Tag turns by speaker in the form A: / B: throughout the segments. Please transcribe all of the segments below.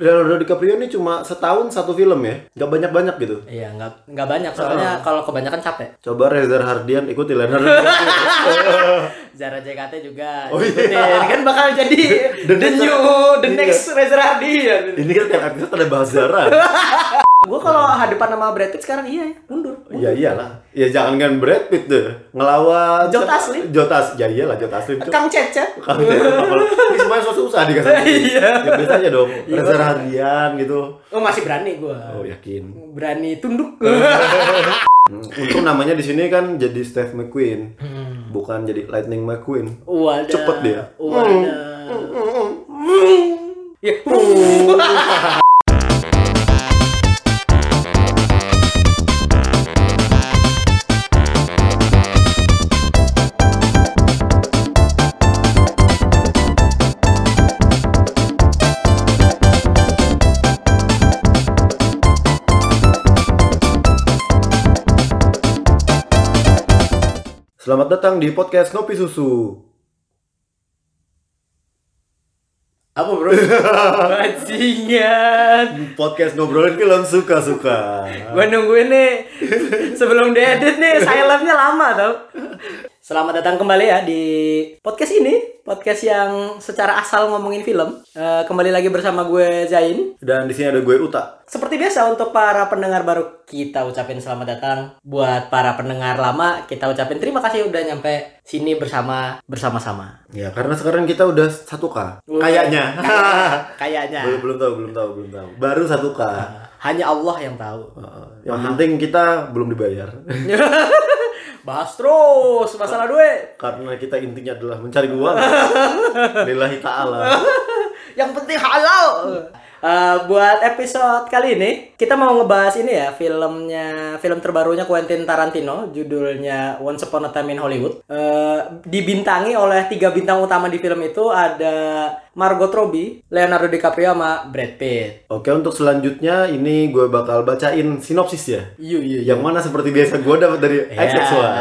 A: Leonardo DiCaprio ini cuma setahun satu film ya? Gak banyak-banyak gitu?
B: Iya, nggak nggak banyak soalnya kalau kebanyakan capek.
A: Coba Reza Hardian ikuti Leonardo DiCaprio.
B: Zara JKT juga
A: Oh, iya.
B: ikutin. kan bakal jadi
A: The
B: the,
A: next-
B: new the
A: Iya.
B: next Reza Rahadian.
A: ini kan tiap episode ada bahas Zara.
B: Gue kalau hadapan sama Brad Pitt sekarang iya ya, mundur.
A: ya iyalah. Ya jangan kan Brad Pitt tuh. Ngelawan...
B: Joe
A: siapa?
B: Taslim.
A: Joe Tas. Ya iyalah Joe Taslim. tuh.
B: Kang Cece.
A: Kang Cecep, apalagi. Ini semuanya susah-susah dikasih.
B: Iya.
A: Ya biasa aja dong. Reza Hardian gitu.
B: Oh iya. masih berani gue.
A: Oh yakin.
B: Berani tunduk.
A: Hmm, Untung namanya di sini kan jadi Steve McQueen. Bukan jadi Lightning McQueen.
B: Wadah.
A: Cepet dia.
B: Mm. Wadah. Ya.
A: Selamat datang di podcast Ngopi Susu.
B: Apa bro? Bajingan.
A: Podcast ngobrolin film suka-suka.
B: Gue nungguin nih sebelum diedit nih silentnya lama tau. Selamat datang kembali ya di podcast ini, podcast yang secara asal ngomongin film. Eh, kembali lagi bersama gue Zain.
A: Dan di sini ada gue Uta.
B: Seperti biasa untuk para pendengar baru kita ucapin selamat datang. Buat para pendengar lama kita ucapin terima kasih udah nyampe sini bersama bersama-sama.
A: Ya, karena sekarang kita udah 1K. Kayaknya.
B: Kayaknya.
A: belum belum tahu, belum tahu, belum tahu. Baru 1K.
B: Hanya Allah yang tahu.
A: Heeh. Yang penting kita belum dibayar.
B: Bahas terus masalah duit.
A: karena kita intinya adalah mencari uang. Lillahi ta'ala.
B: Yang penting halal. Eh, buat episode kali ini kita mau ngebahas ini ya filmnya film terbarunya Quentin Tarantino judulnya Once Upon a Time in Hollywood Eh, dibintangi oleh tiga bintang utama di film itu ada Margot Robbie, Leonardo DiCaprio sama Brad Pitt.
A: Oke, untuk selanjutnya ini gue bakal bacain sinopsis ya.
B: Iya iya
A: Yang mana seperti biasa gue dapat dari
B: Ya.
A: XX1.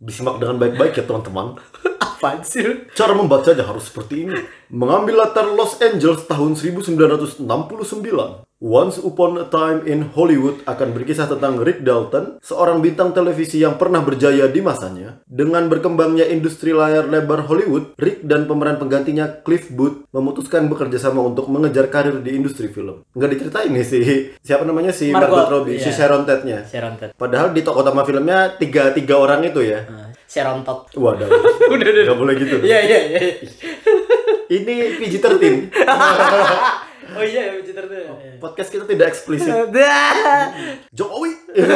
A: Disimak dengan baik-baik ya teman-teman.
B: Apaan sih? lu?
A: Cara membacanya harus seperti ini. Mengambil latar Los Angeles tahun 1969. Once Upon a Time in Hollywood akan berkisah tentang Rick Dalton, seorang bintang televisi yang pernah berjaya di masanya. Dengan berkembangnya industri layar lebar Hollywood, Rick dan pemeran penggantinya Cliff Booth memutuskan bekerja sama untuk mengejar karir di industri film. Nggak diceritain nih si siapa namanya si
B: Margot,
A: Margot, Robbie, si
B: iya.
A: Sharon Tate-nya.
B: Sharon Tate.
A: Padahal di toko utama filmnya tiga tiga orang itu ya.
B: Eh, Sharon Tate.
A: Waduh,
B: Udah, udah.
A: nggak boleh gitu.
B: Iya iya iya.
A: Ini PG-13.
B: Oh iya, ya, Peter tuh. Iya.
A: Podcast kita tidak eksplisit. Jokowi.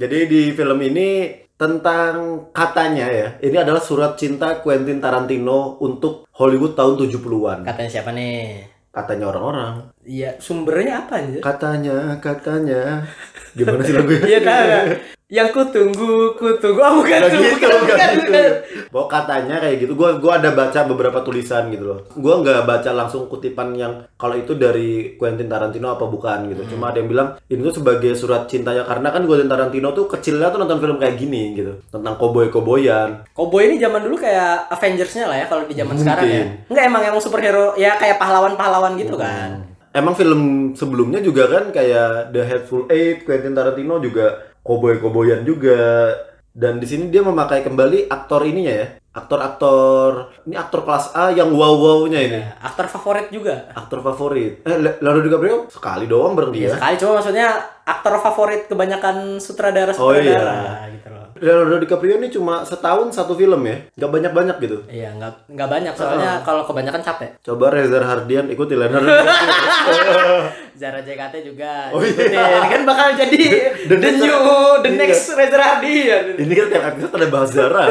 A: Jadi di film ini tentang katanya ya, ini adalah surat cinta Quentin Tarantino untuk Hollywood tahun 70-an.
B: Katanya siapa nih?
A: Katanya orang-orang.
B: Iya, sumbernya apa anjir?
A: Katanya, katanya. Gimana sih lagunya?
B: Iya, tahu. tahu. Yang ku tunggu, ku tunggu. Oh, bukan,
A: Gak
B: tuh,
A: gitu,
B: bukan,
A: gak
B: bukan,
A: gitu.
B: bukan.
A: Bahwa katanya kayak gitu. Gua gua ada baca beberapa tulisan gitu loh. Gua nggak baca langsung kutipan yang kalau itu dari Quentin Tarantino apa bukan gitu.
B: Hmm.
A: Cuma ada yang bilang ini tuh sebagai surat cintanya karena kan Quentin Tarantino tuh kecilnya tuh nonton film kayak gini gitu. Tentang koboi-koboyan.
B: Cowboy ini zaman dulu kayak Avengers-nya lah ya kalau di zaman
A: Mungkin.
B: sekarang ya. Enggak emang yang superhero ya kayak pahlawan-pahlawan gitu
A: Oh.
B: kan.
A: Emang film sebelumnya juga kan kayak The Hateful Eight, Quentin Tarantino juga koboi-koboyan juga. Dan di sini dia memakai kembali aktor ininya ya. Aktor-aktor ini aktor kelas A yang wow-wownya ini.
B: Ya, aktor favorit juga.
A: aktor favorit eh Le- Leonardo DiCaprio sekali doang bareng dia
B: Ya sekali cuma maksudnya aktor favorit kebanyakan
A: Oh, iya.
B: sutradara-sutradara gitu loh.
A: Leonardo DiCaprio ini cuma setahun satu film ya nggak banyak banyak gitu
B: Iya, enggak enggak banyak soalnya kalau kebanyakan capek.
A: coba Reza Hardian ikuti Leonardo DiCaprio
B: Zara JKT juga.
A: Oh, iya.
B: ikutin. Kan bakal jadi the,
A: The next-
B: new the
A: Iya.
B: next Reza Rahadian.
A: ini kan tiap episode ada bahas Zara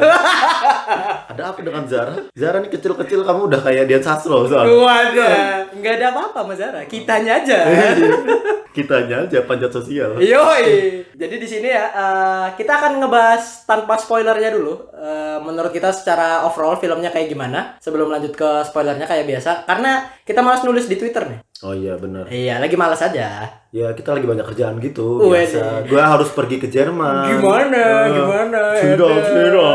A: ada apa dengan Zara Zara ini kecil kecil kamu udah kayak Dian Sastro soalnya
B: Waduh, nggak ada apa-apa Mas Zara, kitanya aja.
A: kitanya aja panjat sosial
B: Yoi. Jadi di sini ya eh, kita akan ngebahas tanpa spoilernya dulu. Eh, menurut kita secara overall filmnya kayak gimana? Sebelum lanjut ke spoilernya kayak biasa, karena kita malas nulis di Twitter nih.
A: oh iya bener
B: Iya, lagi malas aja.
A: ya kita lagi banyak kerjaan gitu
B: Wede.
A: biasa gua harus pergi ke Jerman
B: Gimana?
A: Eh,
B: Gimana?
A: tidak
B: Ada.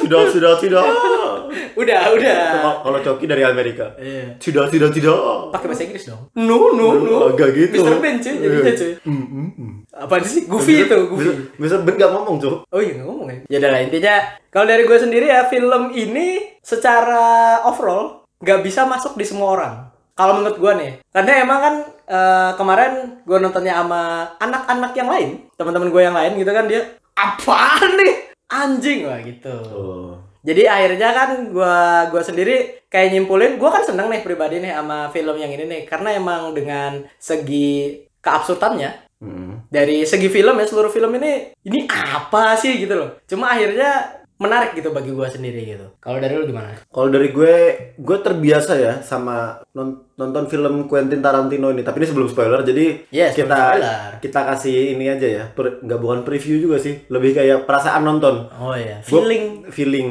A: tidak tidak tidak tidak
B: udah, udah.
A: Kalau kalau Coki dari Amerika.
B: Iya.
A: Tidak, tidak, tidak.
B: Pakai bahasa Inggris dong. No, no, no.
A: Agak gitu.
B: Mr. Ben cuy, jadinya Iya. cuy.
A: Mm, mm, mm.
B: Apaan sih? Goofy itu, Goofy.
A: Bisa- Bisa Ben gak ngomong tuh.
B: Oh iya nggak ngomong ya. Ya udah lah intinya kalau dari gue sendiri ya film ini secara overall nggak bisa masuk di semua orang. Kalau menurut gue nih, karena emang kan eh, kemarin gue nontonnya sama anak-anak yang lain, teman-teman gue yang lain gitu kan dia apaan nih anjing lah gitu.
A: Oh.
B: Jadi akhirnya kan gua gua sendiri kayak nyimpulin gua kan seneng nih pribadi nih sama film yang ini nih karena emang dengan segi keabsurdannya
A: Mm.
B: dari segi film ya seluruh film ini ini apa sih gitu loh cuma akhirnya menarik gitu bagi gua sendiri gitu kalau dari lu gimana
A: Kalau dari gue, gue terbiasa ya sama non- nonton film Quentin Tarantino ini. Tapi ini sebelum spoiler, jadi
B: Yes, Iya, sebelum
A: kita
B: spoiler.
A: kita kasih ini aja ya. Per, nggak bukan preview juga sih, lebih kayak perasaan nonton.
B: oh ya
A: Gua-
B: feeling
A: feeling.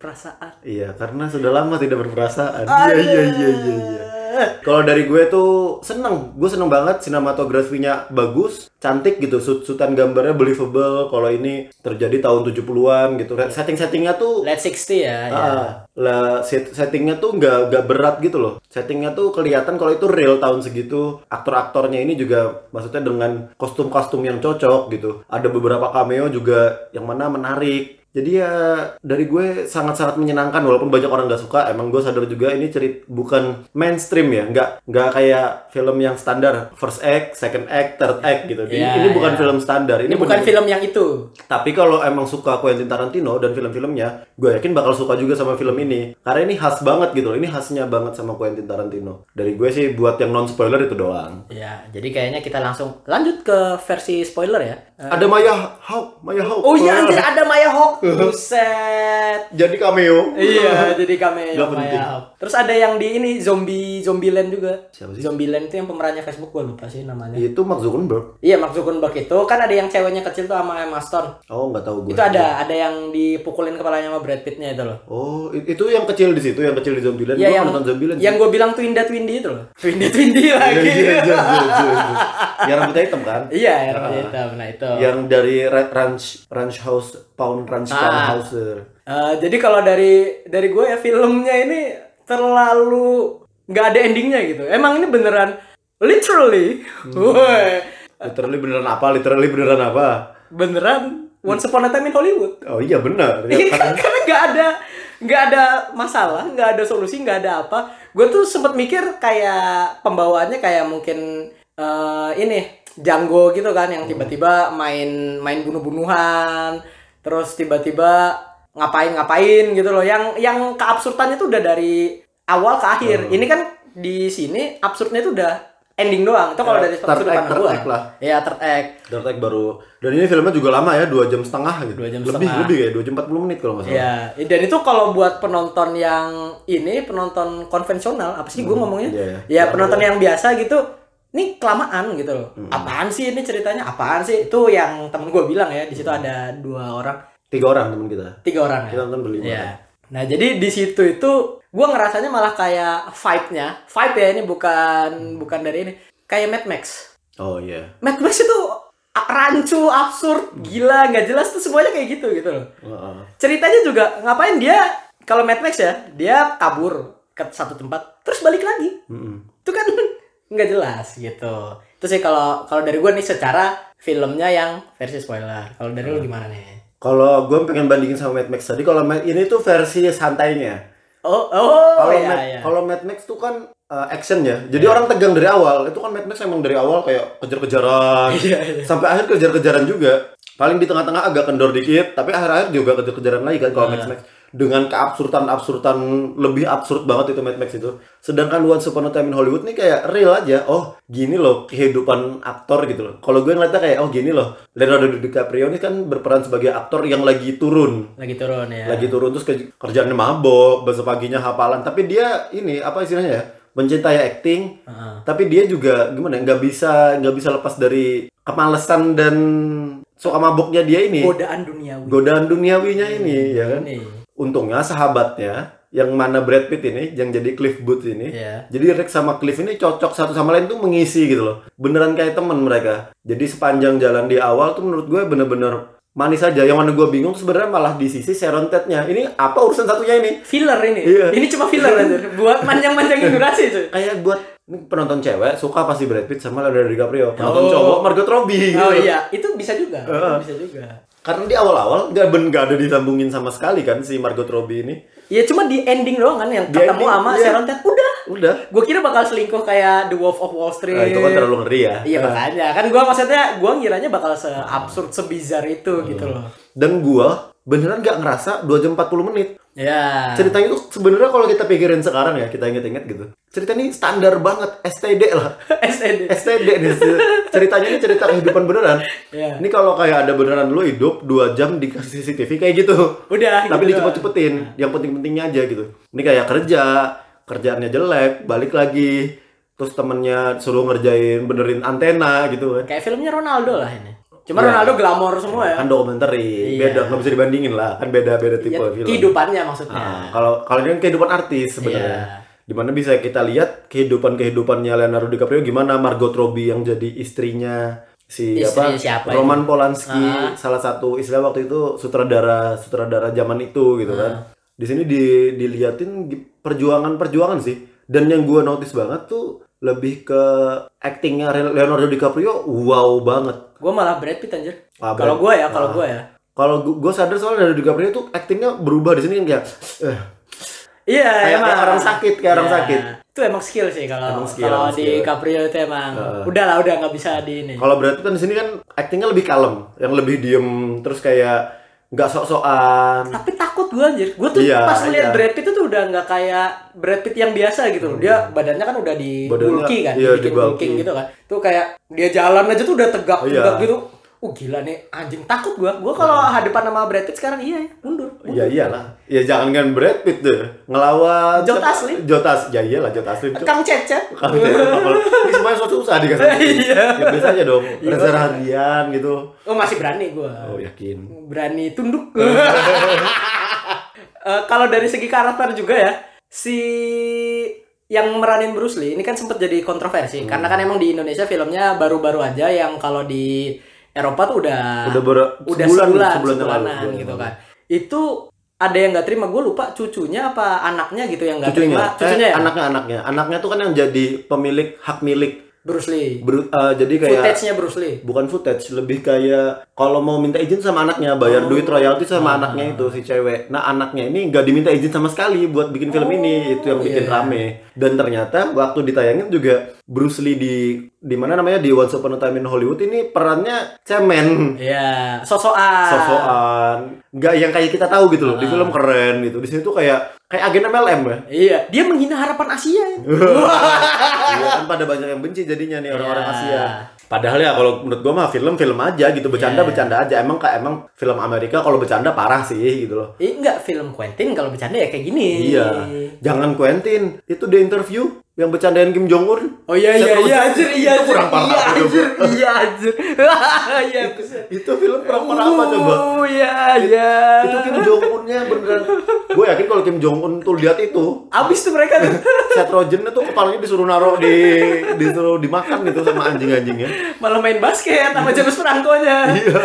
B: perasaan
A: Iya, karena sudah lama tidak berperasaan. Iya, iya, iya, iya, iya. Kalau dari gue tuh seneng, gue seneng banget sinematografinya bagus, cantik gitu, Sut sutan gambarnya believable. Kalau ini terjadi tahun 70-an gitu, setting-settingnya tuh
B: late 60 ya, ya.
A: Ah, lah set- settingnya tuh nggak nggak berat gitu loh. Settingnya tuh kelihatan kalau itu real tahun segitu. Aktor-aktornya ini juga maksudnya dengan kostum-kostum yang cocok gitu. Ada beberapa cameo juga yang mana menarik. Jadi ya dari gue sangat-sangat menyenangkan walaupun banyak orang nggak suka. Emang gue sadar juga ini cerit bukan mainstream ya, nggak nggak kayak film yang standar first act, second act, third act gitu. Ini,
B: Ya,
A: ini bukan
B: ya.
A: film standar.
B: ini bukan
A: bener-
B: film yang itu
A: tapi kalau emang suka Quentin Tarantino dan film-filmnya, gue yakin bakal suka juga sama film ini. Karena ini khas banget gitu loh, ini khasnya banget sama Quentin Tarantino. Dari gue sih buat yang non spoiler itu doang.
B: ya jadi kayaknya kita langsung lanjut ke versi spoiler ya Eh,
A: Ada Maya Hawk, Maya Hawk.
B: oh iya anjir ada Maya Hawk buset
A: Jadi cameo.
B: iya jadi
A: Nggak
B: kami yang
A: penting.
B: Maya. terus ada yang di ini zombie Zombieland juga
A: Siapa sih?
B: Zombieland itu yang pemerannya Facebook gua lupa sih namanya
A: Itu Mark Zuckerberg.
B: Iya Mark Zuckerberg itu kan ada yang ceweknya kecil tuh sama Emma Stone.
A: Oh nggak tahu gue.
B: Itu ada ada yang dipukulin kepalanya sama Brad Pittnya itu loh.
A: Oh i- itu yang kecil di situ, yang kecil di Zombieland.
B: Iya
A: gue
B: yang
A: nonton Zombieland.
B: yang gue bilang Twinda Twindy itu loh. Twinda Twindy
A: Iya,
B: lagi.
A: iya, iya, iya, iya, iya. Yang rambutnya hitam kan?
B: Iya yang itu nah itu.
A: Yang dari Ra- Ranch Ranch House Pound Ranch
B: Ah.
A: Pound House.
B: Eh, jadi kalau dari dari gue ya filmnya ini terlalu nggak ada endingnya gitu. Emang ini beneran literally,
A: Hmm.
B: woi,
A: Literally beneran apa? Literally beneran apa?
B: beneran Once Upon a Time in Hollywood.
A: Oh iya benar. Ya,
B: Iya,
A: karena-
B: kan- karena nggak ada nggak ada masalah nggak ada solusi nggak ada apa gue tuh sempet mikir kayak pembawaannya kayak mungkin eh, ini Django gitu kan
A: Hmm.
B: yang tiba-tiba main main bunuh-bunuhan terus tiba-tiba ngapain-ngapain gitu loh yang yang keabsurdannya tuh udah dari awal ke akhir
A: Hmm.
B: ini kan di sini absurdnya tuh udah ending doang itu kalau
A: Ya,
B: dari
A: third act,
B: sudut pandang
A: third
B: gue
A: act lah.
B: ya third act
A: Dark Knight baru dan ini filmnya juga lama ya dua jam setengah gitu
B: Dua jam
A: lebih
B: setengah.
A: lebih kayak dua jam empat puluh menit kalau nggak salah
B: Iya, dan itu kalau buat penonton yang ini penonton konvensional apa sih gue ngomongnya?
A: iya,
B: Ya
A: iya. Hmm.
B: penonton yang biasa gitu, ini kelamaan gitu loh. Apaan sih ini ceritanya? Apaan sih? Itu yang temen gue bilang ya di situ ada dua orang,
A: tiga orang teman kita
B: tiga orang ya.
A: Hmm. kita nonton berlima
B: Iya. Nah jadi di situ itu gue ngerasanya malah kayak vibe-nya, vibe ya ini bukan bukan dari ini, kayak Mad Max.
A: oh iya
B: Mad Max itu a- rancu, absurd, gila, nggak jelas tuh semuanya kayak gitu gitu loh
A: Heeh.
B: ceritanya juga ngapain dia kalau Mad Max ya dia kabur ke satu tempat terus balik lagi
A: Mm-mm.
B: itu kan nggak jelas gitu itu sih kalau kalau dari gue nih secara filmnya yang versi spoiler kalau dari
A: Hmm.
B: lu gimana nih
A: kalau gue pengen bandingin sama Mad Max tadi kalau Mad- ini tuh versi santainya
B: oh oh
A: kalau
B: ya,
A: Mad,
B: ya.
A: kalau Mad Max tuh kan uh, action ya jadi orang tegang dari awal itu kan Mad Max emang dari awal kayak kejar-kejaran
B: Iya, iya.
A: sampai akhir kejar-kejaran juga paling di tengah-tengah agak kendor dikit tapi akhir-akhir juga kejar-kejaran lagi kan kalau Mad
B: Ah.
A: Max dengan keabsurdan-absurdan lebih absurd banget itu Mad Max itu sedangkan Once Upon a Time in Hollywood nih kayak real aja oh gini loh kehidupan aktor gitu loh kalau gue ngeliatnya kayak oh gini loh Leonardo DiCaprio ini kan berperan sebagai aktor yang lagi turun
B: lagi turun ya
A: lagi turun terus ke- kerjaannya mabok besok paginya hafalan tapi dia ini apa istilahnya ya mencintai acting
B: Heeh.
A: tapi dia juga gimana ya, nggak bisa nggak bisa lepas dari kemalasan dan suka maboknya dia ini
B: godaan duniawi
A: godaan duniawinya ini ya kan
B: ini iya.
A: untungnya sahabatnya yang mana Brad Pitt ini yang jadi Cliff Booth ini
B: ya
A: jadi Rick sama Cliff ini cocok satu sama lain tuh mengisi gitu loh. Beneran kayak teman mereka. Jadi sepanjang jalan di awal tuh menurut gue bener-bener manis aja. Yang mana gue bingung sebenarnya malah di sisi Sharon Tate-nya. Ini apa urusan satunya ini?
B: Filler ini.
A: Iya.
B: Ini cuma filler anjir. Buat panjang-panjangin durasi cuy.
A: Kayak buat ini penonton cewek suka pasti Brad Pitt sama Leonardo DiCaprio. Penonton
B: Oh.
A: cowok Margot Robbie. gitu.
B: Oh iya, itu bisa juga. Itu
A: Heeh.
B: Bisa juga.
A: Karena di awal-awal nggak ben nggak ada disambungin sama sekali kan si Margot Robbie ini.
B: Ya cuma di ending doang kan yang
A: Di
B: ketemu
A: ending,
B: sama
A: iya.
B: Sharon Tate. Udah.
A: Udah.
B: Gue kira bakal selingkuh kayak The Wolf of Wall Street.
A: Nah, itu kan terlalu ngeri ya.
B: Iya
A: Nah,
B: makanya kan gua maksudnya gua ngiranya bakal seabsurd sebizar itu
A: Hmm.
B: gitu loh.
A: Dan gua beneran nggak ngerasa 2 jam 40 menit.
B: Ya.
A: Ah. Ceritanya tuh sebenarnya kalau kita pikirin sekarang ya, kita inget-inget gitu. Cerita ini standar banget, STD lah.
B: SND.
A: STD nih ceritanya ini cerita kehidupan beneran.
B: Iya.
A: Ini kalau kayak ada beneran lu hidup 2 jam di CCTV kayak gitu.
B: Udah
A: Tapi
B: gitu doang.
A: dicepet-cepetin, yang penting-pentingnya aja gitu. Ini kayak kerja, kerjaannya jelek, balik lagi. Terus temennya suruh ngerjain benerin antena gitu kan.
B: Kayak filmnya Ronaldo lah ini. Cuma
A: Ya.
B: Ronaldo glamor semua ya.
A: Kan dokumenter,
B: Iya.
A: beda nggak bisa dibandingin lah. Kan beda-beda tipe
B: Ya,
A: film.
B: kehidupannya maksudnya.
A: Ah, kalau kalau ini kan kehidupan artis sebenarnya.
B: Iya.
A: Dimana bisa kita lihat kehidupan kehidupannya Leonardo DiCaprio gimana Margot Robbie yang jadi istrinya si
B: Istrinya
A: apa
B: siapa itu?
A: Roman Polanski
B: Ah.
A: salah satu istilah waktu itu sutradara sutradara zaman itu gitu kan.
B: Ah.
A: Di sini di diliatin gi- perjuangan-perjuangan sih. Dan yang gua notice banget tuh lebih ke actingnya Leonardo DiCaprio wow banget.
B: Gue malah Brad Pitt anjir.
A: Ah,
B: Kalau
A: Brad-
B: gue ya, kalau
A: Ah.
B: gue ya.
A: Kalau gue sadar soalnya Leonardo DiCaprio tuh actingnya berubah di sini kan kayak eh,
B: Iya,
A: Kayak-
B: emang Iya.
A: kayak orang sakit, kayak orang sakit.
B: Itu emang skill sih kalau
A: Emang skill,
B: kalau
A: emang
B: di
A: skill. Ah.
B: Caprio itu emang
A: Heeh.
B: udah lah udah nggak bisa di ini.
A: Kalau berarti kan di sini kan aktingnya lebih kalem, yang lebih diem, terus kayak nggak sok-sokan.
B: Hmm. Tapi takut gue anjir. Gue tuh
A: Iya,
B: pas melihat
A: iya.
B: Brad Pitt itu tuh udah nggak kayak Brad Pitt yang biasa gitu. Dia badannya kan udah di
A: Hmm. Badannya-
B: bulky kan,
A: iya,
B: dibikin
A: di bulky.
B: bulking gitu kan. Tuh kayak dia jalan aja tuh udah tegak
A: Iya. Hmm.
B: tegak gitu. Oh gila nih anjing takut gue. Gue kalau hadapan sama Brad Pitt sekarang iya ya, mundur. mundur.
A: Ya iyalah. Ya jangan kan Brad Pitt tuh ngelawan
B: Joe
A: siapa?
B: Taslim.
A: Joe Tas. Ya iyalah Joe Taslim. Cuk.
B: Kang Cece.
A: Kan, ya, kalau- Ini semuanya susah-susah dikasih.
B: Iya.
A: Ya, biasa aja dong.
B: Iya.
A: Reza Radian gitu.
B: Oh masih berani gue.
A: Oh yakin.
B: berani tunduk. Eh, kalau dari segi karakter juga ya, si yang meranin Bruce Lee ini kan sempat jadi
A: Hmm.
B: kontroversi karena kan emang di Indonesia filmnya baru-baru aja yang kalau di Eropa tuh udah
A: Udah ber
B: udah
A: sebulan,
B: sebulan,
A: sebulan yang lalu.
B: sebulanan
A: sebulan yang
B: gitu
A: lalu.
B: kan. Itu ada yang nggak terima gue lupa cucunya apa anaknya gitu yang nggak
A: Cucunya,
B: terima
A: eh,
B: cucunya ya
A: anaknya, anaknya, anaknya tuh kan yang jadi pemilik hak milik.
B: Bruce Lee
A: Ber- eh, jadi kayak
B: footage-nya Bruce Lee
A: bukan footage lebih kayak kalau mau minta izin sama anaknya
B: Oh.
A: bayar duit royalti
B: Ah.
A: sama anaknya itu si cewek nah anaknya ini nggak diminta izin sama sekali buat bikin film ini itu yang bikin
B: iya.
A: rame dan ternyata waktu ditayangin juga Bruce Lee di di mana namanya di Once Upon a Time in Hollywood ini perannya cemen
B: ya sosokan
A: sosokan nggak yang kayak kita tahu gitu loh
B: Ah.
A: di film keren gitu di sini tuh kayak kayak agen MLM ya
B: iya dia menghina harapan Asia ya.
A: Iya kan pada banyak yang benci jadinya nih orang-orang
B: Ya.
A: Asia. Padahal ya kalau menurut gua mah film-film aja gitu, bercanda-bercanda aja. Emang kayak emang film Amerika kalau bercanda parah sih gitu loh.
B: Eh, enggak film Quentin kalau bercanda ya kayak gini.
A: Iya. Jangan Quentin, itu di interview yang bercandain Kim Jong Un.
B: Oh iya iya iya anjir iya
A: Itu
B: anjir.
A: kurang parah,
B: Iya
A: coba.
B: anjir iya anjir. Wah, Iya bisa.
A: Itu film perang apa coba?
B: Oh iya iya.
A: Itu Kim Jong Unnya beneran. Gue yakin kalau Kim Jong Un tuh lihat itu,
B: Abis tuh mereka tuh.
A: Seth Rogen tuh kepalanya disuruh naruh di disuruh dimakan gitu sama anjing-anjingnya.
B: Malah main basket sama James Franco-nya.
A: Iya.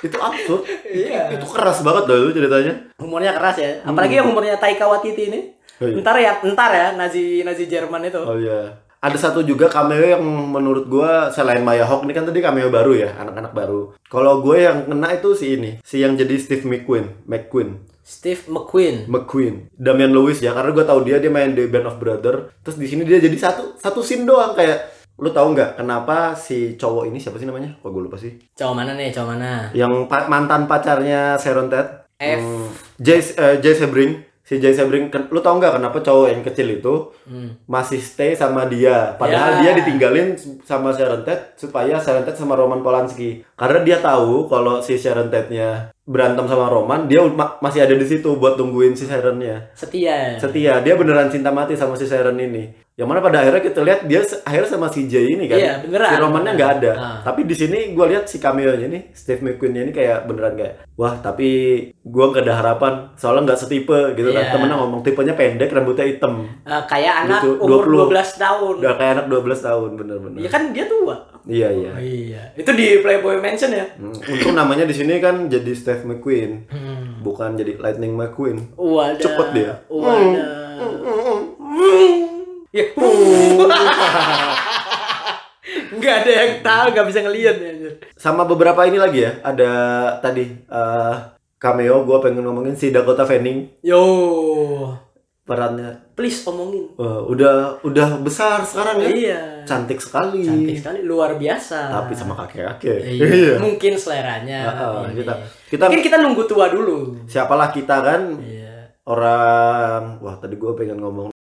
A: Itu absurd.
B: Iya.
A: Itu keras banget loh itu ceritanya.
B: Humornya keras ya. Apalagi yang humornya Taika Waititi ini.
A: Hmm. Oh, iya.
B: Ntar ya, ntar ya Nazi Nazi Jerman itu.
A: Oh iya. Ada satu juga cameo yang menurut gua selain Maya Hawk ini kan tadi cameo baru ya, anak-anak baru. Kalau gue yang kena itu si ini, si yang jadi Steve McQueen, McQueen,
B: Steve McQueen.
A: McQueen, Damian Lewis ya, karena gua tahu dia dia main di Band of Brother. Terus di sini dia jadi satu satu scene doang kayak lu tahu nggak kenapa si cowok ini siapa sih namanya? Kok gue lupa sih.
B: Cowok mana nih? Cowok mana?
A: Yang pa- mantan pacarnya Sharon Tate.
B: F.
A: Hmm, Jay, eh, Jay Sebring. Si Jay Sebring, ken- lu tau nggak kenapa cowok yang kecil itu
B: Hmm.
A: masih stay sama dia padahal
B: Ya.
A: dia ditinggalin sama Sharon Tate supaya Sharon Tate sama Roman Polanski karena dia tahu kalau si Sharon Tate-nya berantem sama Roman dia ma- masih ada di situ buat tungguin si Sharon-nya
B: Setia.
A: setia dia beneran cinta mati sama si Sharon ini Yang mana pada akhirnya kita lihat dia se- akhirnya sama si Jay ini kan.
B: Iya, beneran.
A: Si Romannya nggak ada.
B: Ah.
A: Tapi di sini gua lihat si cameo-nya nih, Steve McQueen-nya ini kayak beneran kayak, wah tapi gua nggak ada harapan. Soalnya nggak setipe gitu kan.
B: Iya.
A: Temennya ngomong tipenya pendek, rambutnya hitam.
B: Eh, kayak anak
A: Lucu,
B: umur
A: 20.
B: 12 tahun.
A: Udah kayak anak 12 tahun bener-bener.
B: Ya kan dia tua.
A: Iya iya.
B: Oh, iya. Itu di Playboy Mansion ya.
A: Hmm, Untung namanya di sini kan jadi Steve McQueen,
B: Hmm.
A: bukan jadi Lightning McQueen.
B: Wadah.
A: Cepet dia.
B: Wadah. Ya. Enggak ada yang tahu, enggak bisa ngelihat ya. anjir.
A: Sama beberapa ini lagi ya, ada tadi eh, cameo gue pengen ngomongin si Dakota Fanning
B: Yo,
A: perannya
B: please omongin.
A: eh, udah udah besar sekarang ya,
B: Iya.
A: cantik sekali,
B: Cantik sekali, luar biasa.
A: tapi sama kakek-kakek.
B: Iya. Mungkin seleranya.
A: Heeh,
B: ini.
A: kita kita
B: Mungkin kita nunggu tua dulu.
A: siapalah kita kan
B: Iya.
A: orang wah tadi gue pengen ngomong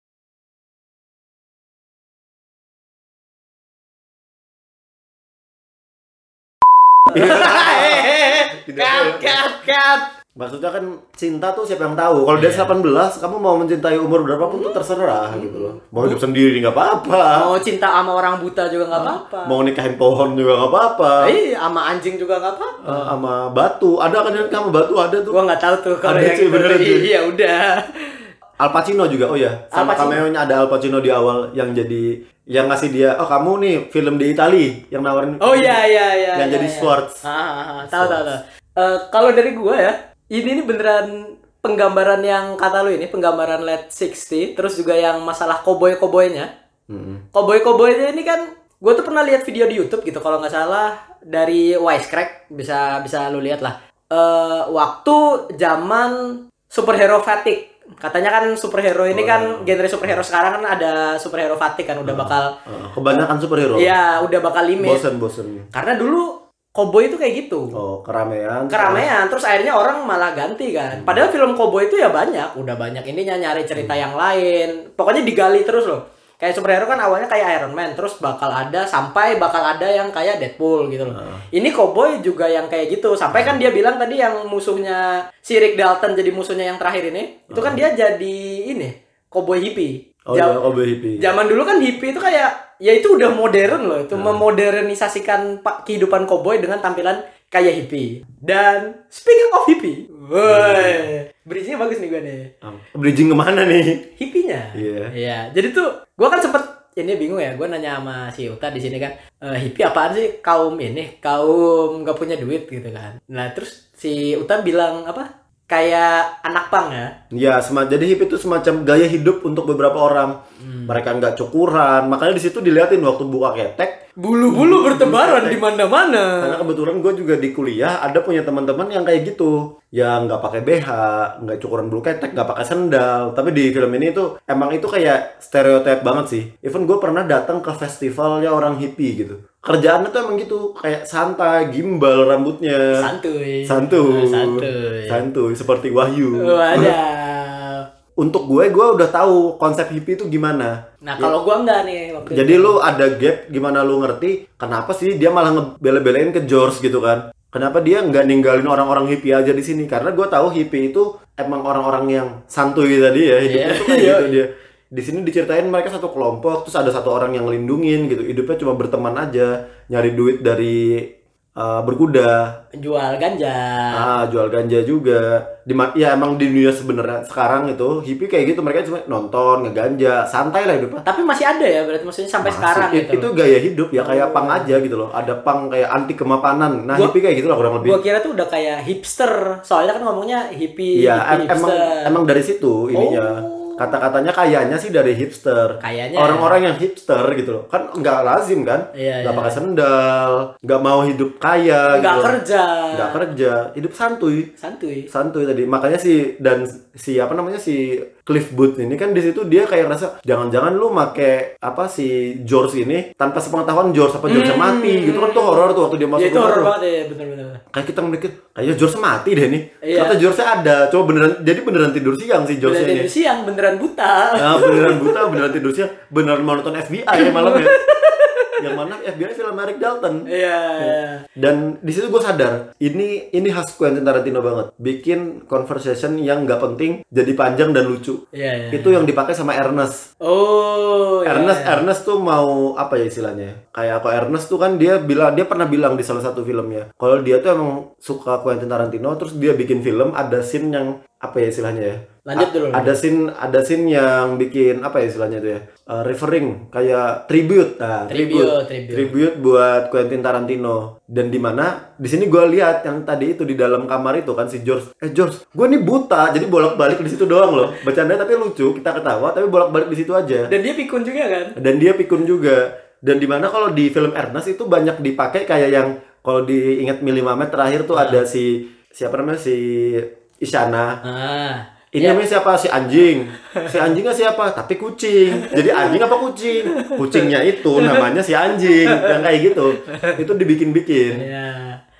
B: Hehehe. cut, cut, cut.
A: Maksudnya kan cinta tuh siapa yang tahu. Kalau dia 18, kamu mau mencintai umur berapapun tuh terserah gitu loh. Mau hidup sendiri nggak apa-apa.
B: Mau cinta sama orang buta juga nggak apa-apa.
A: Mau Eh. nikahin pohon juga nggak apa-apa.
B: Iya, sama anjing juga nggak apa-apa.
A: Eh, sama batu. Ada kan yang sama batu ada tuh.
B: Gua nggak tahu tuh kalau
A: Ada
B: yang
A: sih, bener
B: itu.
A: sih.
B: Iya udah.
A: Al Pacino juga. Oh ya,
B: Al
A: sama
B: Pacino.
A: cameo-nya ada Al Pacino di awal yang jadi yang ngasih dia, "Oh, kamu nih film di Itali yang nawarin."
B: Oh iya iya iya.
A: Yang
B: iya,
A: jadi
B: iya.
A: Schwartz.
B: Ah, ah, ah. tahu tahu tahu. Eh, kalau dari gua ya, ini nih beneran penggambaran yang kata lu ini penggambaran late 60 terus juga yang masalah koboi-koboinya.
A: Mm-mm.
B: Koboi-koboinya ini kan gue tuh pernah lihat video di YouTube gitu kalau nggak salah dari Wisecrack bisa bisa lu lihat lah. Eh waktu zaman superhero fatigue. Katanya kan superhero ini kan genre superhero sekarang kan ada superhero fatigue kan udah bakal
A: Eh, kebanyakan superhero.
B: ya udah bakal limit.
A: Bosen-bosen.
B: Karena dulu koboi itu kayak gitu.
A: Oh, keramaian.
B: Keramaian terus akhirnya orang malah ganti kan. Padahal film koboi itu ya banyak, Hmm. udah banyak ininya nyari cerita yang lain. Pokoknya digali terus loh. Kayak superhero kan awalnya kayak Iron Man, terus bakal ada sampai bakal ada yang kayak Deadpool gitu loh. Ini koboi juga yang kayak gitu. Sampai kan dia bilang tadi yang musuhnya si Rick Dalton jadi musuhnya yang terakhir ini, itu kan dia jadi ini koboi hippie.
A: Oh,
B: Jauh-
A: iya, Cowboy hippie.
B: Zaman dulu kan hippie itu kayak ya itu udah modern loh, itu memodernisasikan pak kehidupan koboi dengan tampilan kayak hippie. Dan speaking of hippie, woi, bridge-nya bagus nih gue nih.
A: Ah, Bridging kemana nih?
B: Hippinya.
A: Iya.
B: Iya. Jadi tuh gua kan sempet ini bingung ya, gue nanya sama si Uta di sini kan, e, hippie apaan sih kaum ini, kaum gak punya duit gitu kan. Nah terus si Uta bilang apa? Kayak anak pang ya.
A: Ya, sema- jadi hippie itu semacam gaya hidup untuk beberapa orang.
B: Hmm.
A: Mereka nggak cukuran, makanya di situ diliatin waktu buka ketek.
B: Bulu-bulu bertebaran di mana-mana.
A: Karena kebetulan gue juga di kuliah ada punya teman-teman yang kayak gitu, yang nggak pakai BH, nggak cukuran bulu ketek, nggak pakai sendal. Tapi di film ini tuh emang itu kayak stereotip banget sih. Even gue pernah datang ke festivalnya orang hippie gitu. Kerjaannya tuh emang gitu, kayak santai, gimbal rambutnya,
B: Santuy. Ah,
A: santuy,
B: Santuy. Oh,
A: santuy, seperti Wahyu.
B: Wadah.
A: Untuk gue, gue udah tahu konsep hippie itu gimana.
B: Nah, kalau gua enggak nih waktu itu.
A: Jadi lu ada gap gimana lu ngerti kenapa sih dia malah ngebele-belein ke George gitu kan? Kenapa dia nggak ninggalin orang-orang hippie aja di sini? Karena gue tahu hippie itu emang orang-orang yang santuy tadi ya hidupnya
B: Iya.
A: tuh kayak gitu
B: Iya.
A: dia. Di sini diceritain mereka satu kelompok terus ada satu orang yang ngelindungin gitu. Hidupnya cuma berteman aja, nyari duit dari uh, berkuda,
B: jual ganja.
A: ah
B: Nah.
A: jual ganja juga. Di ma- ya emang di dunia sebenarnya sekarang itu hippie kayak gitu mereka cuma nonton, ngeganja, santai lah hidupnya.
B: Tapi masih ada ya berarti maksudnya sampai
A: Masih.
B: sekarang
A: I-
B: gitu.
A: Itu gaya hidup ya kayak pang aja gitu loh. Ada pang kayak anti kemapanan. Nah,
B: Gua-
A: hippie kayak gitu lah kurang lebih.
B: Gua kira tuh udah kayak hipster. Soalnya kan ngomongnya hippie,
A: Iya, em-
B: hippie,
A: emang emang dari situ ininya. Kata-katanya kayaknya sih dari hipster.
B: Oh. Kayaknya.
A: Orang-orang yang hipster gitu loh. Kan nggak lazim kan?
B: Iya,
A: nggak
B: iya.
A: pakai sendal, nggak mau hidup kaya
B: Nggak
A: gitu. loh.
B: kerja.
A: Nggak kerja, hidup santuy.
B: Santuy.
A: santuy tadi makanya si dan si apa namanya si Cliff Booth ini kan di situ dia kayak rasa jangan-jangan lu make apa si George ini tanpa sepengetahuan George apa George mati gitu kan tuh horor tuh waktu dia masuk
B: Hmm. Ya itu
A: rumah
B: horor
A: tuh.
B: banget ya, bener-bener.
A: kayak kita mikir kayaknya George mati deh nih
B: Iya.
A: kata George ada coba beneran jadi beneran tidur siang si George
B: Beneran
A: ini
B: tidur siang beneran buta.
A: Ah, beneran buta beneran tidur siang beneran mau nonton FBI ya malam ya yang mana FBI film Eric Dalton.
B: Iya. iya.
A: Dan di situ gue sadar, ini ini khas Quentin Tarantino banget. Bikin conversation yang nggak penting jadi panjang dan lucu.
B: Iya. iya.
A: Itu yang dipakai sama Ernest.
B: Oh. iya,
A: Gitu. Ernest
B: iya.
A: Ernest tuh mau apa ya istilahnya? Kayak apa Ernest tuh kan dia bilang dia pernah bilang di salah satu filmnya. Kalau dia tuh emang suka Quentin Tarantino terus dia bikin film ada scene yang apa ya istilahnya ya?
B: Lanjut
A: A-
B: dulu.
A: Ada scene ada scene yang bikin apa ya istilahnya itu ya? Uh, referring kayak tribute. Nah,
B: Tribute, tribute.
A: tribute buat Quentin Tarantino dan di mana di sini gue lihat yang tadi itu di dalam kamar itu kan si George eh George gue nih buta jadi bolak balik di situ doang loh bercanda tapi lucu kita ketawa tapi bolak balik di situ aja
B: Dan dia pikun juga kan?
A: dan dia pikun juga dan dimana kalau di film Ernest itu banyak dipakai kayak yang kalau diingat Mili Mamet terakhir tuh ada si siapa namanya si Isyana
B: Ah.
A: ini namanya siapa si anjing si anjingnya siapa tapi kucing jadi anjing apa kucing kucingnya itu namanya si anjing yang kayak gitu itu dibikin-bikin
B: Iya.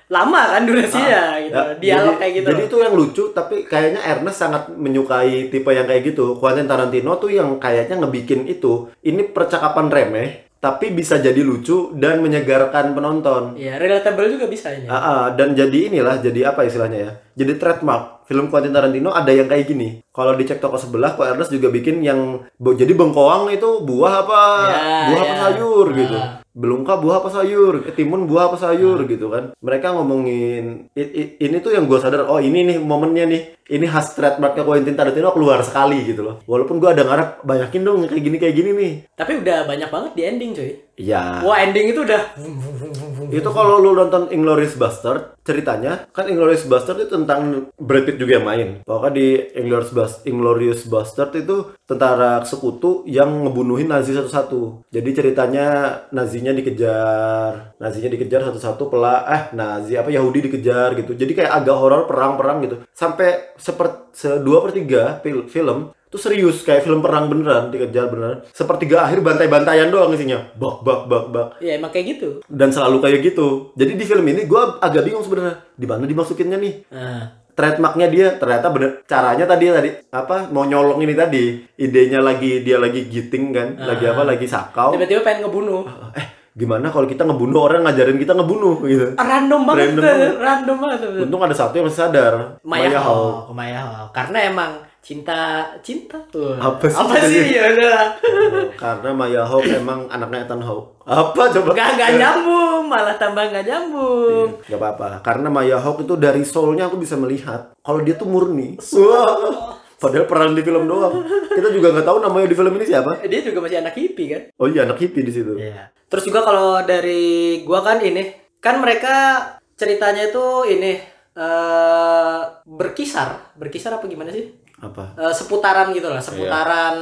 B: Lama kan durasinya gitu.
A: Ya, jadi-
B: Dialog kayak gitu.
A: Jadi itu yang lucu, tapi kayaknya Ernest sangat menyukai tipe yang kayak gitu. Quentin Tarantino tuh yang kayaknya ngebikin itu. Ini percakapan remeh, tapi bisa jadi lucu dan menyegarkan penonton.
B: Iya, relatable juga bisa ini.
A: Ah, ah, dan jadi inilah, jadi apa istilahnya ya? Jadi trademark film Quentin Tarantino ada yang kayak gini. Kalau dicek toko sebelah, kok Ernest juga bikin yang bo- jadi bengkoang itu buah apa?
B: Ya,
A: buah apa
B: ya.
A: sayur gitu.
B: Ah.
A: Belungkah buah apa sayur? Eh, Timun buah apa sayur gitu kan. Mereka ngomongin i- i- ini tuh yang gue sadar, oh ini nih momennya nih. Ini khas trademarknya Quentin Tarantino keluar sekali gitu loh. Walaupun gue ada ngarep banyakin dong yang kayak gini kayak gini nih.
B: Tapi udah banyak banget di ending, cuy.
A: Ya.
B: Wah, ending itu udah vum, vum, vum, vum, vum.
A: Itu kalau lu nonton Inglourious Bastard, ceritanya kan Inglourious Bastard itu tentang Brad Pitt juga yang main. Pokoknya di Inglourious Bas- Inglourious Bastard itu tentara sekutu yang ngebunuhin Nazi satu-satu. Jadi ceritanya Nazinya dikejar, Nazinya dikejar satu-satu pela eh Nazi apa Yahudi dikejar gitu. Jadi kayak agak horor perang-perang gitu. Sampai seper sedua per tiga fil- film itu serius kayak film perang beneran dikejar beneran sepertiga akhir bantai-bantaian doang isinya bak bak bak bak
B: Iya, emang kayak gitu.
A: dan selalu kayak gitu. Jadi di film ini gue agak bingung sebenarnya di mana dimasukinnya nih.
B: Nah,
A: Trademarknya dia ternyata bener caranya tadi tadi apa mau nyolong ini tadi idenya lagi dia lagi giting kan lagi apa lagi sakau
B: tiba-tiba pengen ngebunuh.
A: eh gimana kalau kita ngebunuh orang ngajarin kita ngebunuh gitu
B: Ah, Random banget,
A: Random
B: tuh,
A: banget.
B: random banget. tuh.
A: untung ada satu yang masih sadar
B: Maya
A: Maya Hawke.
B: Hawke, Maya Hawke. Karena emang cinta cinta tuh.
A: Apa sih?
B: Apa sih? Ya udah.
A: karena Maya Hawke emang anaknya Ethan Hawke apa coba
B: Gak gak nyambung, malah tambah gak nyambung.
A: Gak apa-apa, karena Maya Hawke itu dari soulnya aku bisa melihat kalau dia tuh murni. Wah, Padahal peran di film doang. Kita juga nggak tahu namanya di film ini siapa.
B: Dia juga masih anak hippie kan?
A: Oh iya, anak hippie di situ.
B: Iya. Terus juga kalau dari gua kan ini, kan mereka ceritanya itu ini eh berkisar, berkisar apa gimana sih?
A: Apa?
B: Eh, seputaran gitu
A: Iya.
B: lah, seputaran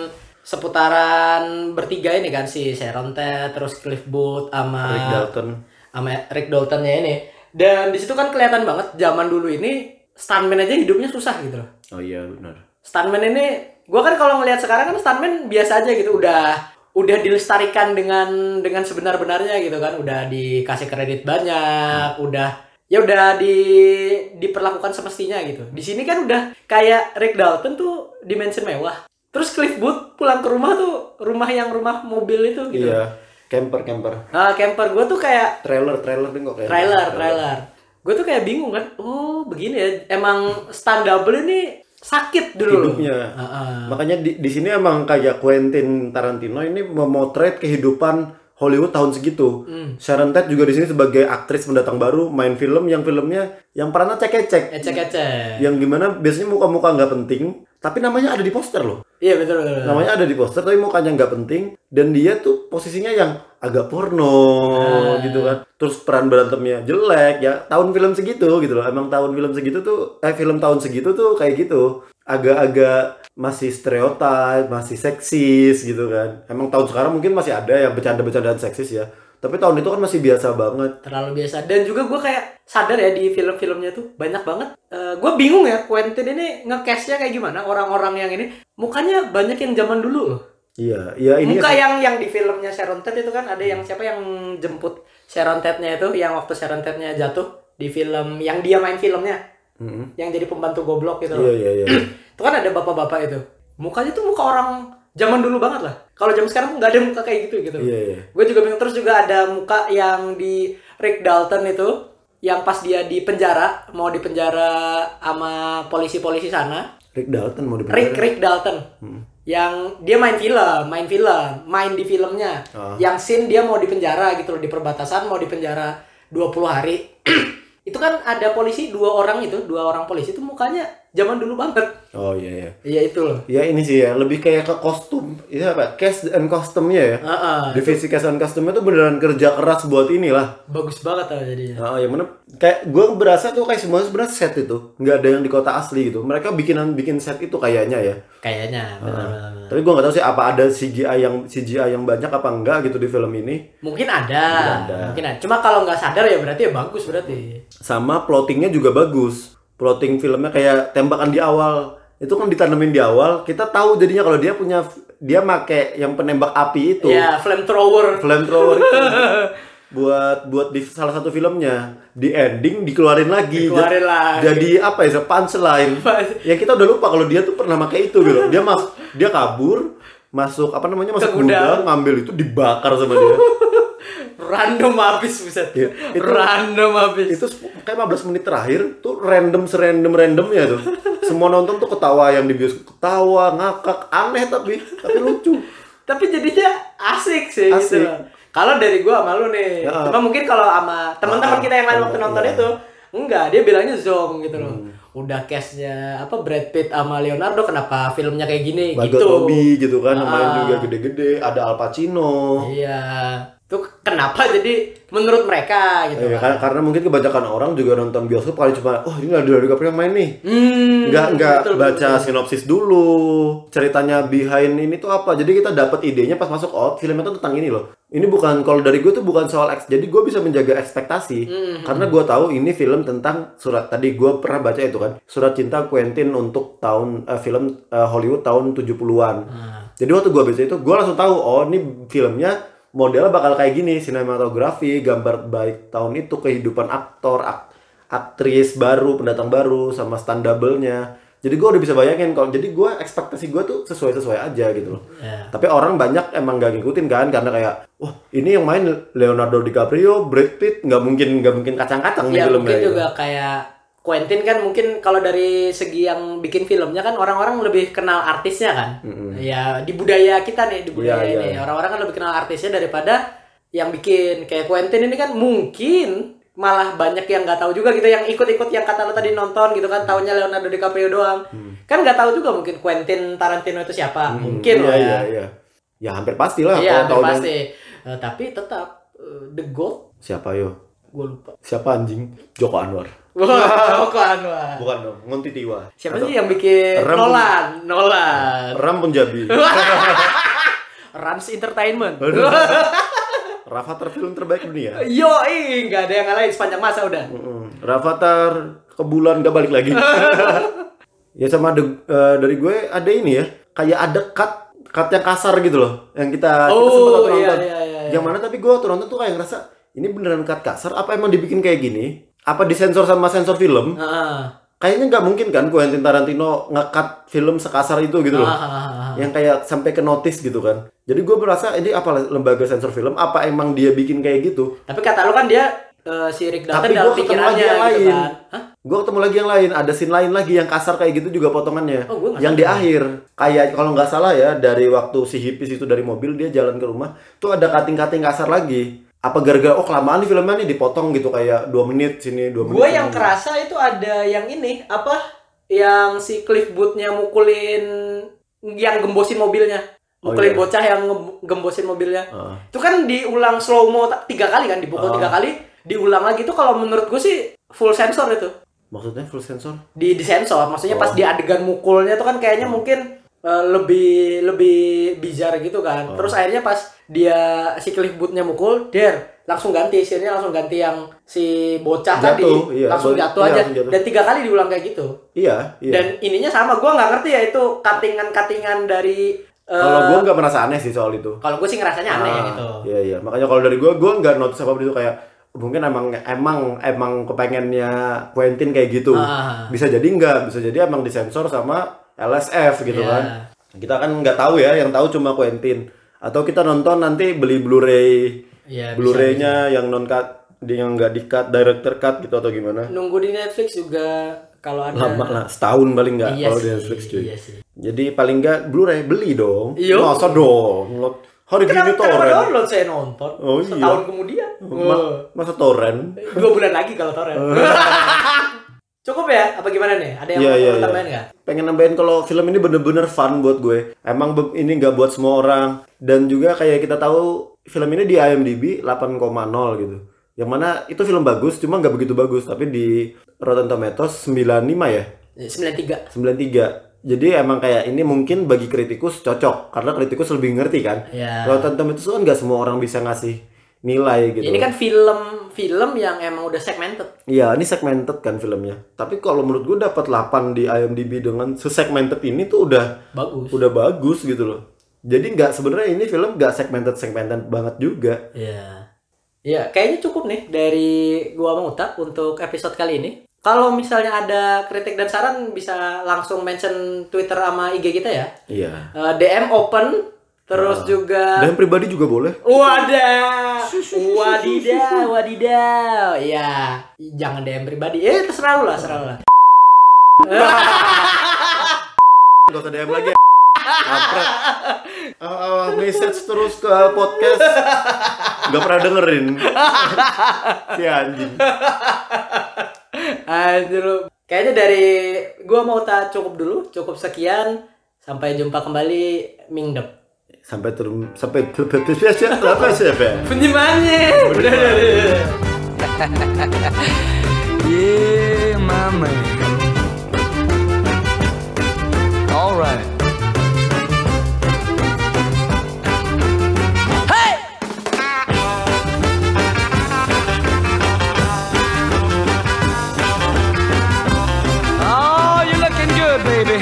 B: seputaran bertiga ini kan si Sharon Tate, terus Cliff Booth sama
A: Rick Dalton.
B: sama Rick Daltonnya ini. Dan di situ kan kelihatan banget zaman dulu ini stuntman aja hidupnya susah gitu loh.
A: Oh iya, benar.
B: Stuntman ini gua kan kalau ngelihat sekarang kan stuntman biasa aja gitu udah udah dilestarikan dengan dengan sebenar-benarnya gitu kan udah dikasih kredit banyak udah ya udah di diperlakukan semestinya gitu di sini kan udah kayak Rick Dalton tuh dimension mewah terus Cliff Booth pulang ke rumah tuh rumah yang rumah mobil itu gitu
A: Iya, camper camper.
B: nah, camper gua tuh kayak
A: Trailer trailer nih kok kayak.
B: trailer trailer gue tuh kayak bingung kan oh begini ya emang stand double ini sakit dulu
A: Hidupnya.
B: Heeh.
A: Makanya di, di sini emang kayak Quentin Tarantino ini memotret kehidupan Hollywood tahun segitu.
B: Hmm.
A: Sharon Tate juga di sini sebagai aktris pendatang baru main film yang filmnya yang perannya cek-cek.
B: ecek ecek
A: yang gimana biasanya muka-muka nggak penting tapi namanya ada di poster loh
B: iya betul betul betul.
A: namanya ada di poster tapi mukanya nggak penting dan dia tuh posisinya yang agak porno
B: Eh.
A: gitu kan terus peran berantemnya jelek ya tahun film segitu gitu loh emang tahun film segitu tuh eh film tahun segitu tuh kayak gitu agak-agak masih stereotip masih seksis gitu kan emang tahun sekarang mungkin masih ada yang bercanda-bercandaan seksis ya tapi tahun itu kan masih biasa banget
B: terlalu biasa dan juga gue kayak sadar ya di film-filmnya tuh banyak banget gue bingung ya Quentin ini nge-cashnya kayak gimana orang-orang yang ini mukanya banyak yang zaman dulu loh
A: iya iya ini Hmm.
B: muka ya? yang yang di filmnya Sharon Tate itu kan ada yang siapa yang jemput Sharon Tate-nya itu yang waktu Sharon Tate-nya jatuh di film yang dia main filmnya
A: Mm-mm.
B: yang jadi pembantu goblok gitu loh.
A: iya iya iya
B: itu kan ada bapak-bapak itu mukanya tuh muka orang Zaman dulu banget lah. Kalau zaman sekarang nggak ada muka kayak gitu gitu.
A: Iya, iya.
B: Gue juga bingung terus juga ada muka yang di Rick Dalton itu yang pas dia di penjara mau di penjara sama polisi-polisi sana.
A: Rick Dalton mau dipenjara.
B: Rick Rick Dalton.
A: Hmm.
B: Yang dia main film, main film, main di filmnya.
A: Ah.
B: Yang scene dia mau di penjara gitu loh di perbatasan mau di penjara 20 hari. itu kan ada polisi dua orang itu, dua orang polisi itu mukanya zaman dulu banget.
A: Oh iya iya.
B: Iya itu loh.
A: Ya ini sih ya, lebih kayak ke kostum. Itu apa? Cast and customnya ya.
B: Heeh.
A: Divisi cast and customnya tuh beneran kerja keras buat inilah.
B: Bagus banget tau jadinya.
A: Nah, yang mana kayak gue berasa tuh kayak semuanya sebenarnya set itu, nggak ada yang di kota asli gitu. Mereka bikinan bikin set itu kayaknya ya.
B: Kayaknya benar-benar.
A: Tapi gue nggak tahu sih apa ada CGI yang CGI yang banyak apa enggak gitu di film ini.
B: Mungkin ada.
A: ada.
B: Mungkin ada. Cuma kalau nggak sadar ya berarti ya bagus berarti.
A: Sama plottingnya juga bagus. Plotting filmnya kayak tembakan di awal itu kan ditanemin di awal. Kita tahu jadinya kalau dia punya dia make yang penembak api itu.
B: Ya, flamethrower.
A: flamethrower itu buat buat di salah satu filmnya di ending dikeluarin lagi
B: Dikeluarin
A: Jad-
B: lagi.
A: jadi apa ya punchline
B: Punch.
A: ya kita udah lupa kalau dia tuh pernah pakai itu gitu dia mas dia kabur masuk apa namanya masuk
B: gudang.
A: gudang ngambil itu dibakar sama dia
B: Random habis buset.
A: Iya, itu-
B: Random habis.
A: itu sep- kayak 15 menit terakhir tuh random serandom randomnya tuh semua nonton tuh ketawa yang di bioskop ketawa ngakak aneh tapi tapi
B: Gitu.
A: lucu
B: Tapi jadinya asik sih
A: Asik.
B: gitu. loh. Kalau dari gua sama lu nih.
A: Ya.
B: Cuma mungkin kalau sama
A: Ah,
B: teman-teman kita yang lain waktu
A: teman-
B: nonton
A: iya.
B: itu enggak, dia bilangnya zong gitu loh. Udah cashnya apa Brad Pitt sama Leonardo kenapa filmnya kayak gini
A: Margot
B: gitu.
A: Robbie gitu kan main
B: Ah.
A: juga gede-gede ada Al Pacino
B: Iya. Itu kenapa jadi menurut mereka gitu.
A: Iya,
B: kan.
A: karena, karena mungkin kebanyakan orang juga nonton bioskop kali cuma, oh ini Leonardo DiCaprio yang main nih.
B: Hmm,
A: Nggak, nggak
B: betul,
A: baca
B: betul.
A: sinopsis dulu, ceritanya behind ini tuh apa. Jadi kita dapat idenya pas masuk, oh filmnya tuh tentang ini loh. Ini bukan, kalau dari gue tuh bukan soal X. Jadi gue bisa menjaga ekspektasi.
B: Hmm.
A: Karena gue tahu ini film tentang surat, tadi gue pernah baca itu kan. Surat Cinta Quentin untuk tahun, eh, film eh, Hollywood tahun 70-an.
B: Nah,
A: Jadi waktu gua baca itu, gua langsung tahu, oh ini filmnya modelnya bakal kayak gini, sinematografi, gambar baik tahun itu, kehidupan aktor, ak- aktris baru, pendatang baru, sama stand double-nya. Jadi gua udah bisa bayangin kalau jadi gua ekspektasi gua tuh sesuai-sesuai aja gitu loh.
B: ya.
A: Tapi orang banyak emang gak ngikutin kan karena kayak wah ini yang main Leonardo DiCaprio, Brad Pitt nggak mungkin nggak mungkin kacang-kacang di
B: Ya,
A: filmnya.
B: mungkin
A: gitu.
B: juga kayak Quentin kan mungkin kalau dari segi yang bikin filmnya kan orang-orang lebih kenal artisnya kan.
A: gitu." Hmm.
B: Ya di budaya kita nih, di budaya
A: Iya,
B: ini
A: iya.
B: orang-orang kan lebih kenal artisnya daripada yang bikin kayak Quentin ini kan mungkin malah banyak yang nggak tahu juga gitu yang ikut-ikut yang kata lo tadi nonton gitu kan taunya Leonardo DiCaprio doang. Kan nggak tahu juga mungkin Quentin Tarantino itu siapa.
A: Hmm,
B: mungkin
A: iya,
B: lah ya.
A: iya, iya. Ya hampir pastilah
B: Iya,
A: kalau
B: hampir
A: tahunya-
B: pasti. Eh, tapi tetap eh, the gold
A: siapa yo?
B: gue lupa.
A: Siapa anjing? Joko Anwar.
B: Wah, Joko Anwar.
A: Bukan dong, Ngonti Tiwa.
B: Siapa sih yang bikin
A: Rem-
B: Nolan? Nolan.
A: Ram Punjabi.
B: Rams Entertainment.
A: Aduh. Rafathar film terbaik dunia.
B: Yoi, nggak ada yang ngalahin sepanjang masa udah.
A: Mm-mm. Rafathar ke bulan gak balik lagi. ya sama ada eh, dari gue ada ini ya. Kayak ada cut cut yang kasar gitu loh yang kita, kita
B: Oh,
A: sempat waktu
B: iya,
A: nonton.
B: iya, iya, iya.
A: Yang mana tapi gue waktu nonton tuh kayak ngerasa ini beneran cut kasar apa emang dibikin kayak gini? Apa disensor sama sensor film?
B: Heeh.
A: Kayaknya nggak mungkin kan Quentin Tarantino ngekat film sekasar itu gitu loh.
B: ah, Heeh.
A: yang kayak sampai ke notice gitu kan. Jadi gue merasa ini apa lembaga sensor film apa emang dia bikin kayak gitu?
B: Tapi kata lu kan dia eh, si Rick Dalton
A: Tapi
B: dalam
A: gua ketemu lagi
B: pikirannya
A: yang
B: gitu
A: lain.
B: kan. Hah?
A: Gue ketemu lagi yang lain, ada scene lain lagi yang kasar kayak gitu juga potongannya.
B: Oh, gua nggak
A: yang di akhir kayak kalau nggak salah ya dari waktu si hippies itu dari mobil dia jalan ke rumah tuh ada kating-kating kasar lagi. Apa gara-gara oh kelamaan nih filmnya nih dipotong gitu kayak dua menit sini dua menit.
B: Gue yang
A: sini.
B: kerasa itu ada yang ini apa? Yang si Cliff Booth-nya mukulin yang gembosin mobilnya.
A: Oh,
B: Mukulin
A: iya.
B: bocah yang nge- gembosin mobilnya.
A: Heeh.
B: Itu kan diulang slow mo tiga kali kan dipukul
A: Ah.
B: tiga kali, diulang lagi itu kalau menurut gue sih full sensor itu.
A: maksudnya full sensor?
B: Di di sensor, maksudnya pas
A: Oh.
B: di adegan mukulnya tuh kan kayaknya mungkin eh, lebih lebih bizar gitu kan.
A: Oh.
B: Terus akhirnya pas dia si Cliff Booth-nya mukul, der langsung ganti isinya langsung ganti yang si bocah tadi
A: Jatuh, iya.
B: langsung
A: Bo-
B: jatuh
A: iya,
B: aja
A: langsung jatuh.
B: dan tiga kali diulang kayak gitu
A: Iya, iya.
B: dan ininya sama gua nggak ngerti ya itu katingan katingan dari eh,
A: kalau gue nggak merasa aneh sih soal itu.
B: kalau gue sih ngerasanya aneh ya gitu. yang
A: Ah,
B: itu
A: Iya iya. Makanya kalau dari gue, gue nggak notice apa itu kayak mungkin emang emang emang kepengennya Quentin kayak gitu.
B: Ah.
A: Bisa jadi nggak, bisa jadi emang disensor sama LSF gitu
B: Iya.
A: kan. Kita kan nggak tahu ya, yang tahu cuma Quentin. Atau kita nonton nanti beli Blu-ray,
B: Iya, bisa,
A: Blu-raynya yang non cut, dia yang nggak di cut, director cut gitu atau gimana?
B: Nunggu di Netflix juga kalau ada
A: Lama lah, setahun paling nggak
B: Iya
A: kalau di
B: sih,
A: Netflix cuy.
B: iya sih.
A: Jadi paling nggak Blu-ray beli dong.
B: Iya.
A: Masa dong. Lo- Hari
B: Kenapa,
A: gini
B: kenapa
A: torrent.
B: download saya nonton?
A: Oh, iya.
B: Setahun kemudian.
A: Ma-
B: Oh.
A: masa torrent?
B: Dua bulan lagi kalau torrent. Cukup ya? Apa gimana nih? Ada yang
A: Iya,
B: mau
A: iya, iya.
B: tambahin nggak?
A: pengen nambahin kalau film ini bener-bener fun buat gue emang be- ini nggak buat semua orang dan juga kayak kita tahu film ini di IMDb 8,0 gitu yang mana itu film bagus cuma nggak begitu bagus tapi di Rotten Tomatoes 95 ya
B: Eh, 93.
A: 93 jadi emang kayak ini mungkin bagi kritikus cocok karena kritikus lebih ngerti kan
B: Ya.
A: Rotten Tomatoes kan nggak semua orang bisa ngasih nilai gitu
B: Ini kan film-film yang emang udah segmented.
A: Iya, ini segmented kan filmnya. Tapi kalau menurut gue dapat 8 di IMDb dengan sesegmented ini tuh udah
B: Bagus.
A: udah bagus gitu loh. Jadi nggak sebenarnya ini film nggak segmented segmented banget juga.
B: Iya. Iya, kayaknya cukup nih dari gua sama Uta untuk episode kali ini. Kalau misalnya ada kritik dan saran bisa langsung mention Twitter sama IG kita ya.
A: Iya.
B: Eh, DM open terus juga
A: Dan pribadi juga boleh.
B: Wadah, wadidaw, wadidaw, ya jangan DM pribadi, eh terserah lu lah, terserah lu lah.
A: Gak usah DM lagi. Kampret. Ah, ah, message terus ke podcast. Gak pernah dengerin. si anjing.
B: Anjir lu. Eh, Kayaknya dari gua mau tak cukup dulu, cukup sekian. Sampai jumpa kembali mingdep.
A: Sampai turun sampai apa sih
B: Penyimannya. Udah, udah, udah.
C: Yeah, my man. All right. Hey! Oh, you're looking good, baby.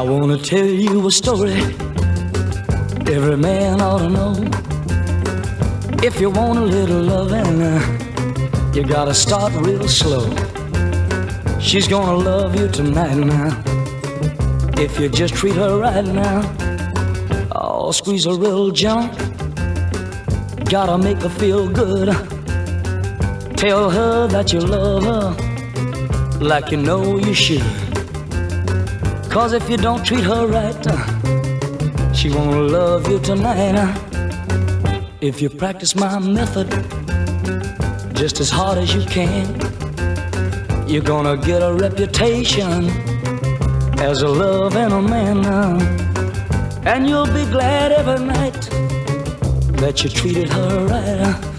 C: I wanna tell you a story every man ought to know. If you want a little loving, uh, you gotta start real slow. She's gonna love you tonight now. If you just treat her right now, oh, squeeze her real jump. Gotta make her feel good. Tell her that you love her like you know you should. Cause if you don't treat her right, uh, she won't love you tonight. uh. If you practice my method just as hard as you can, you're gonna get a reputation as a loving a man. uh. And you'll be glad every night that you treated her right. uh.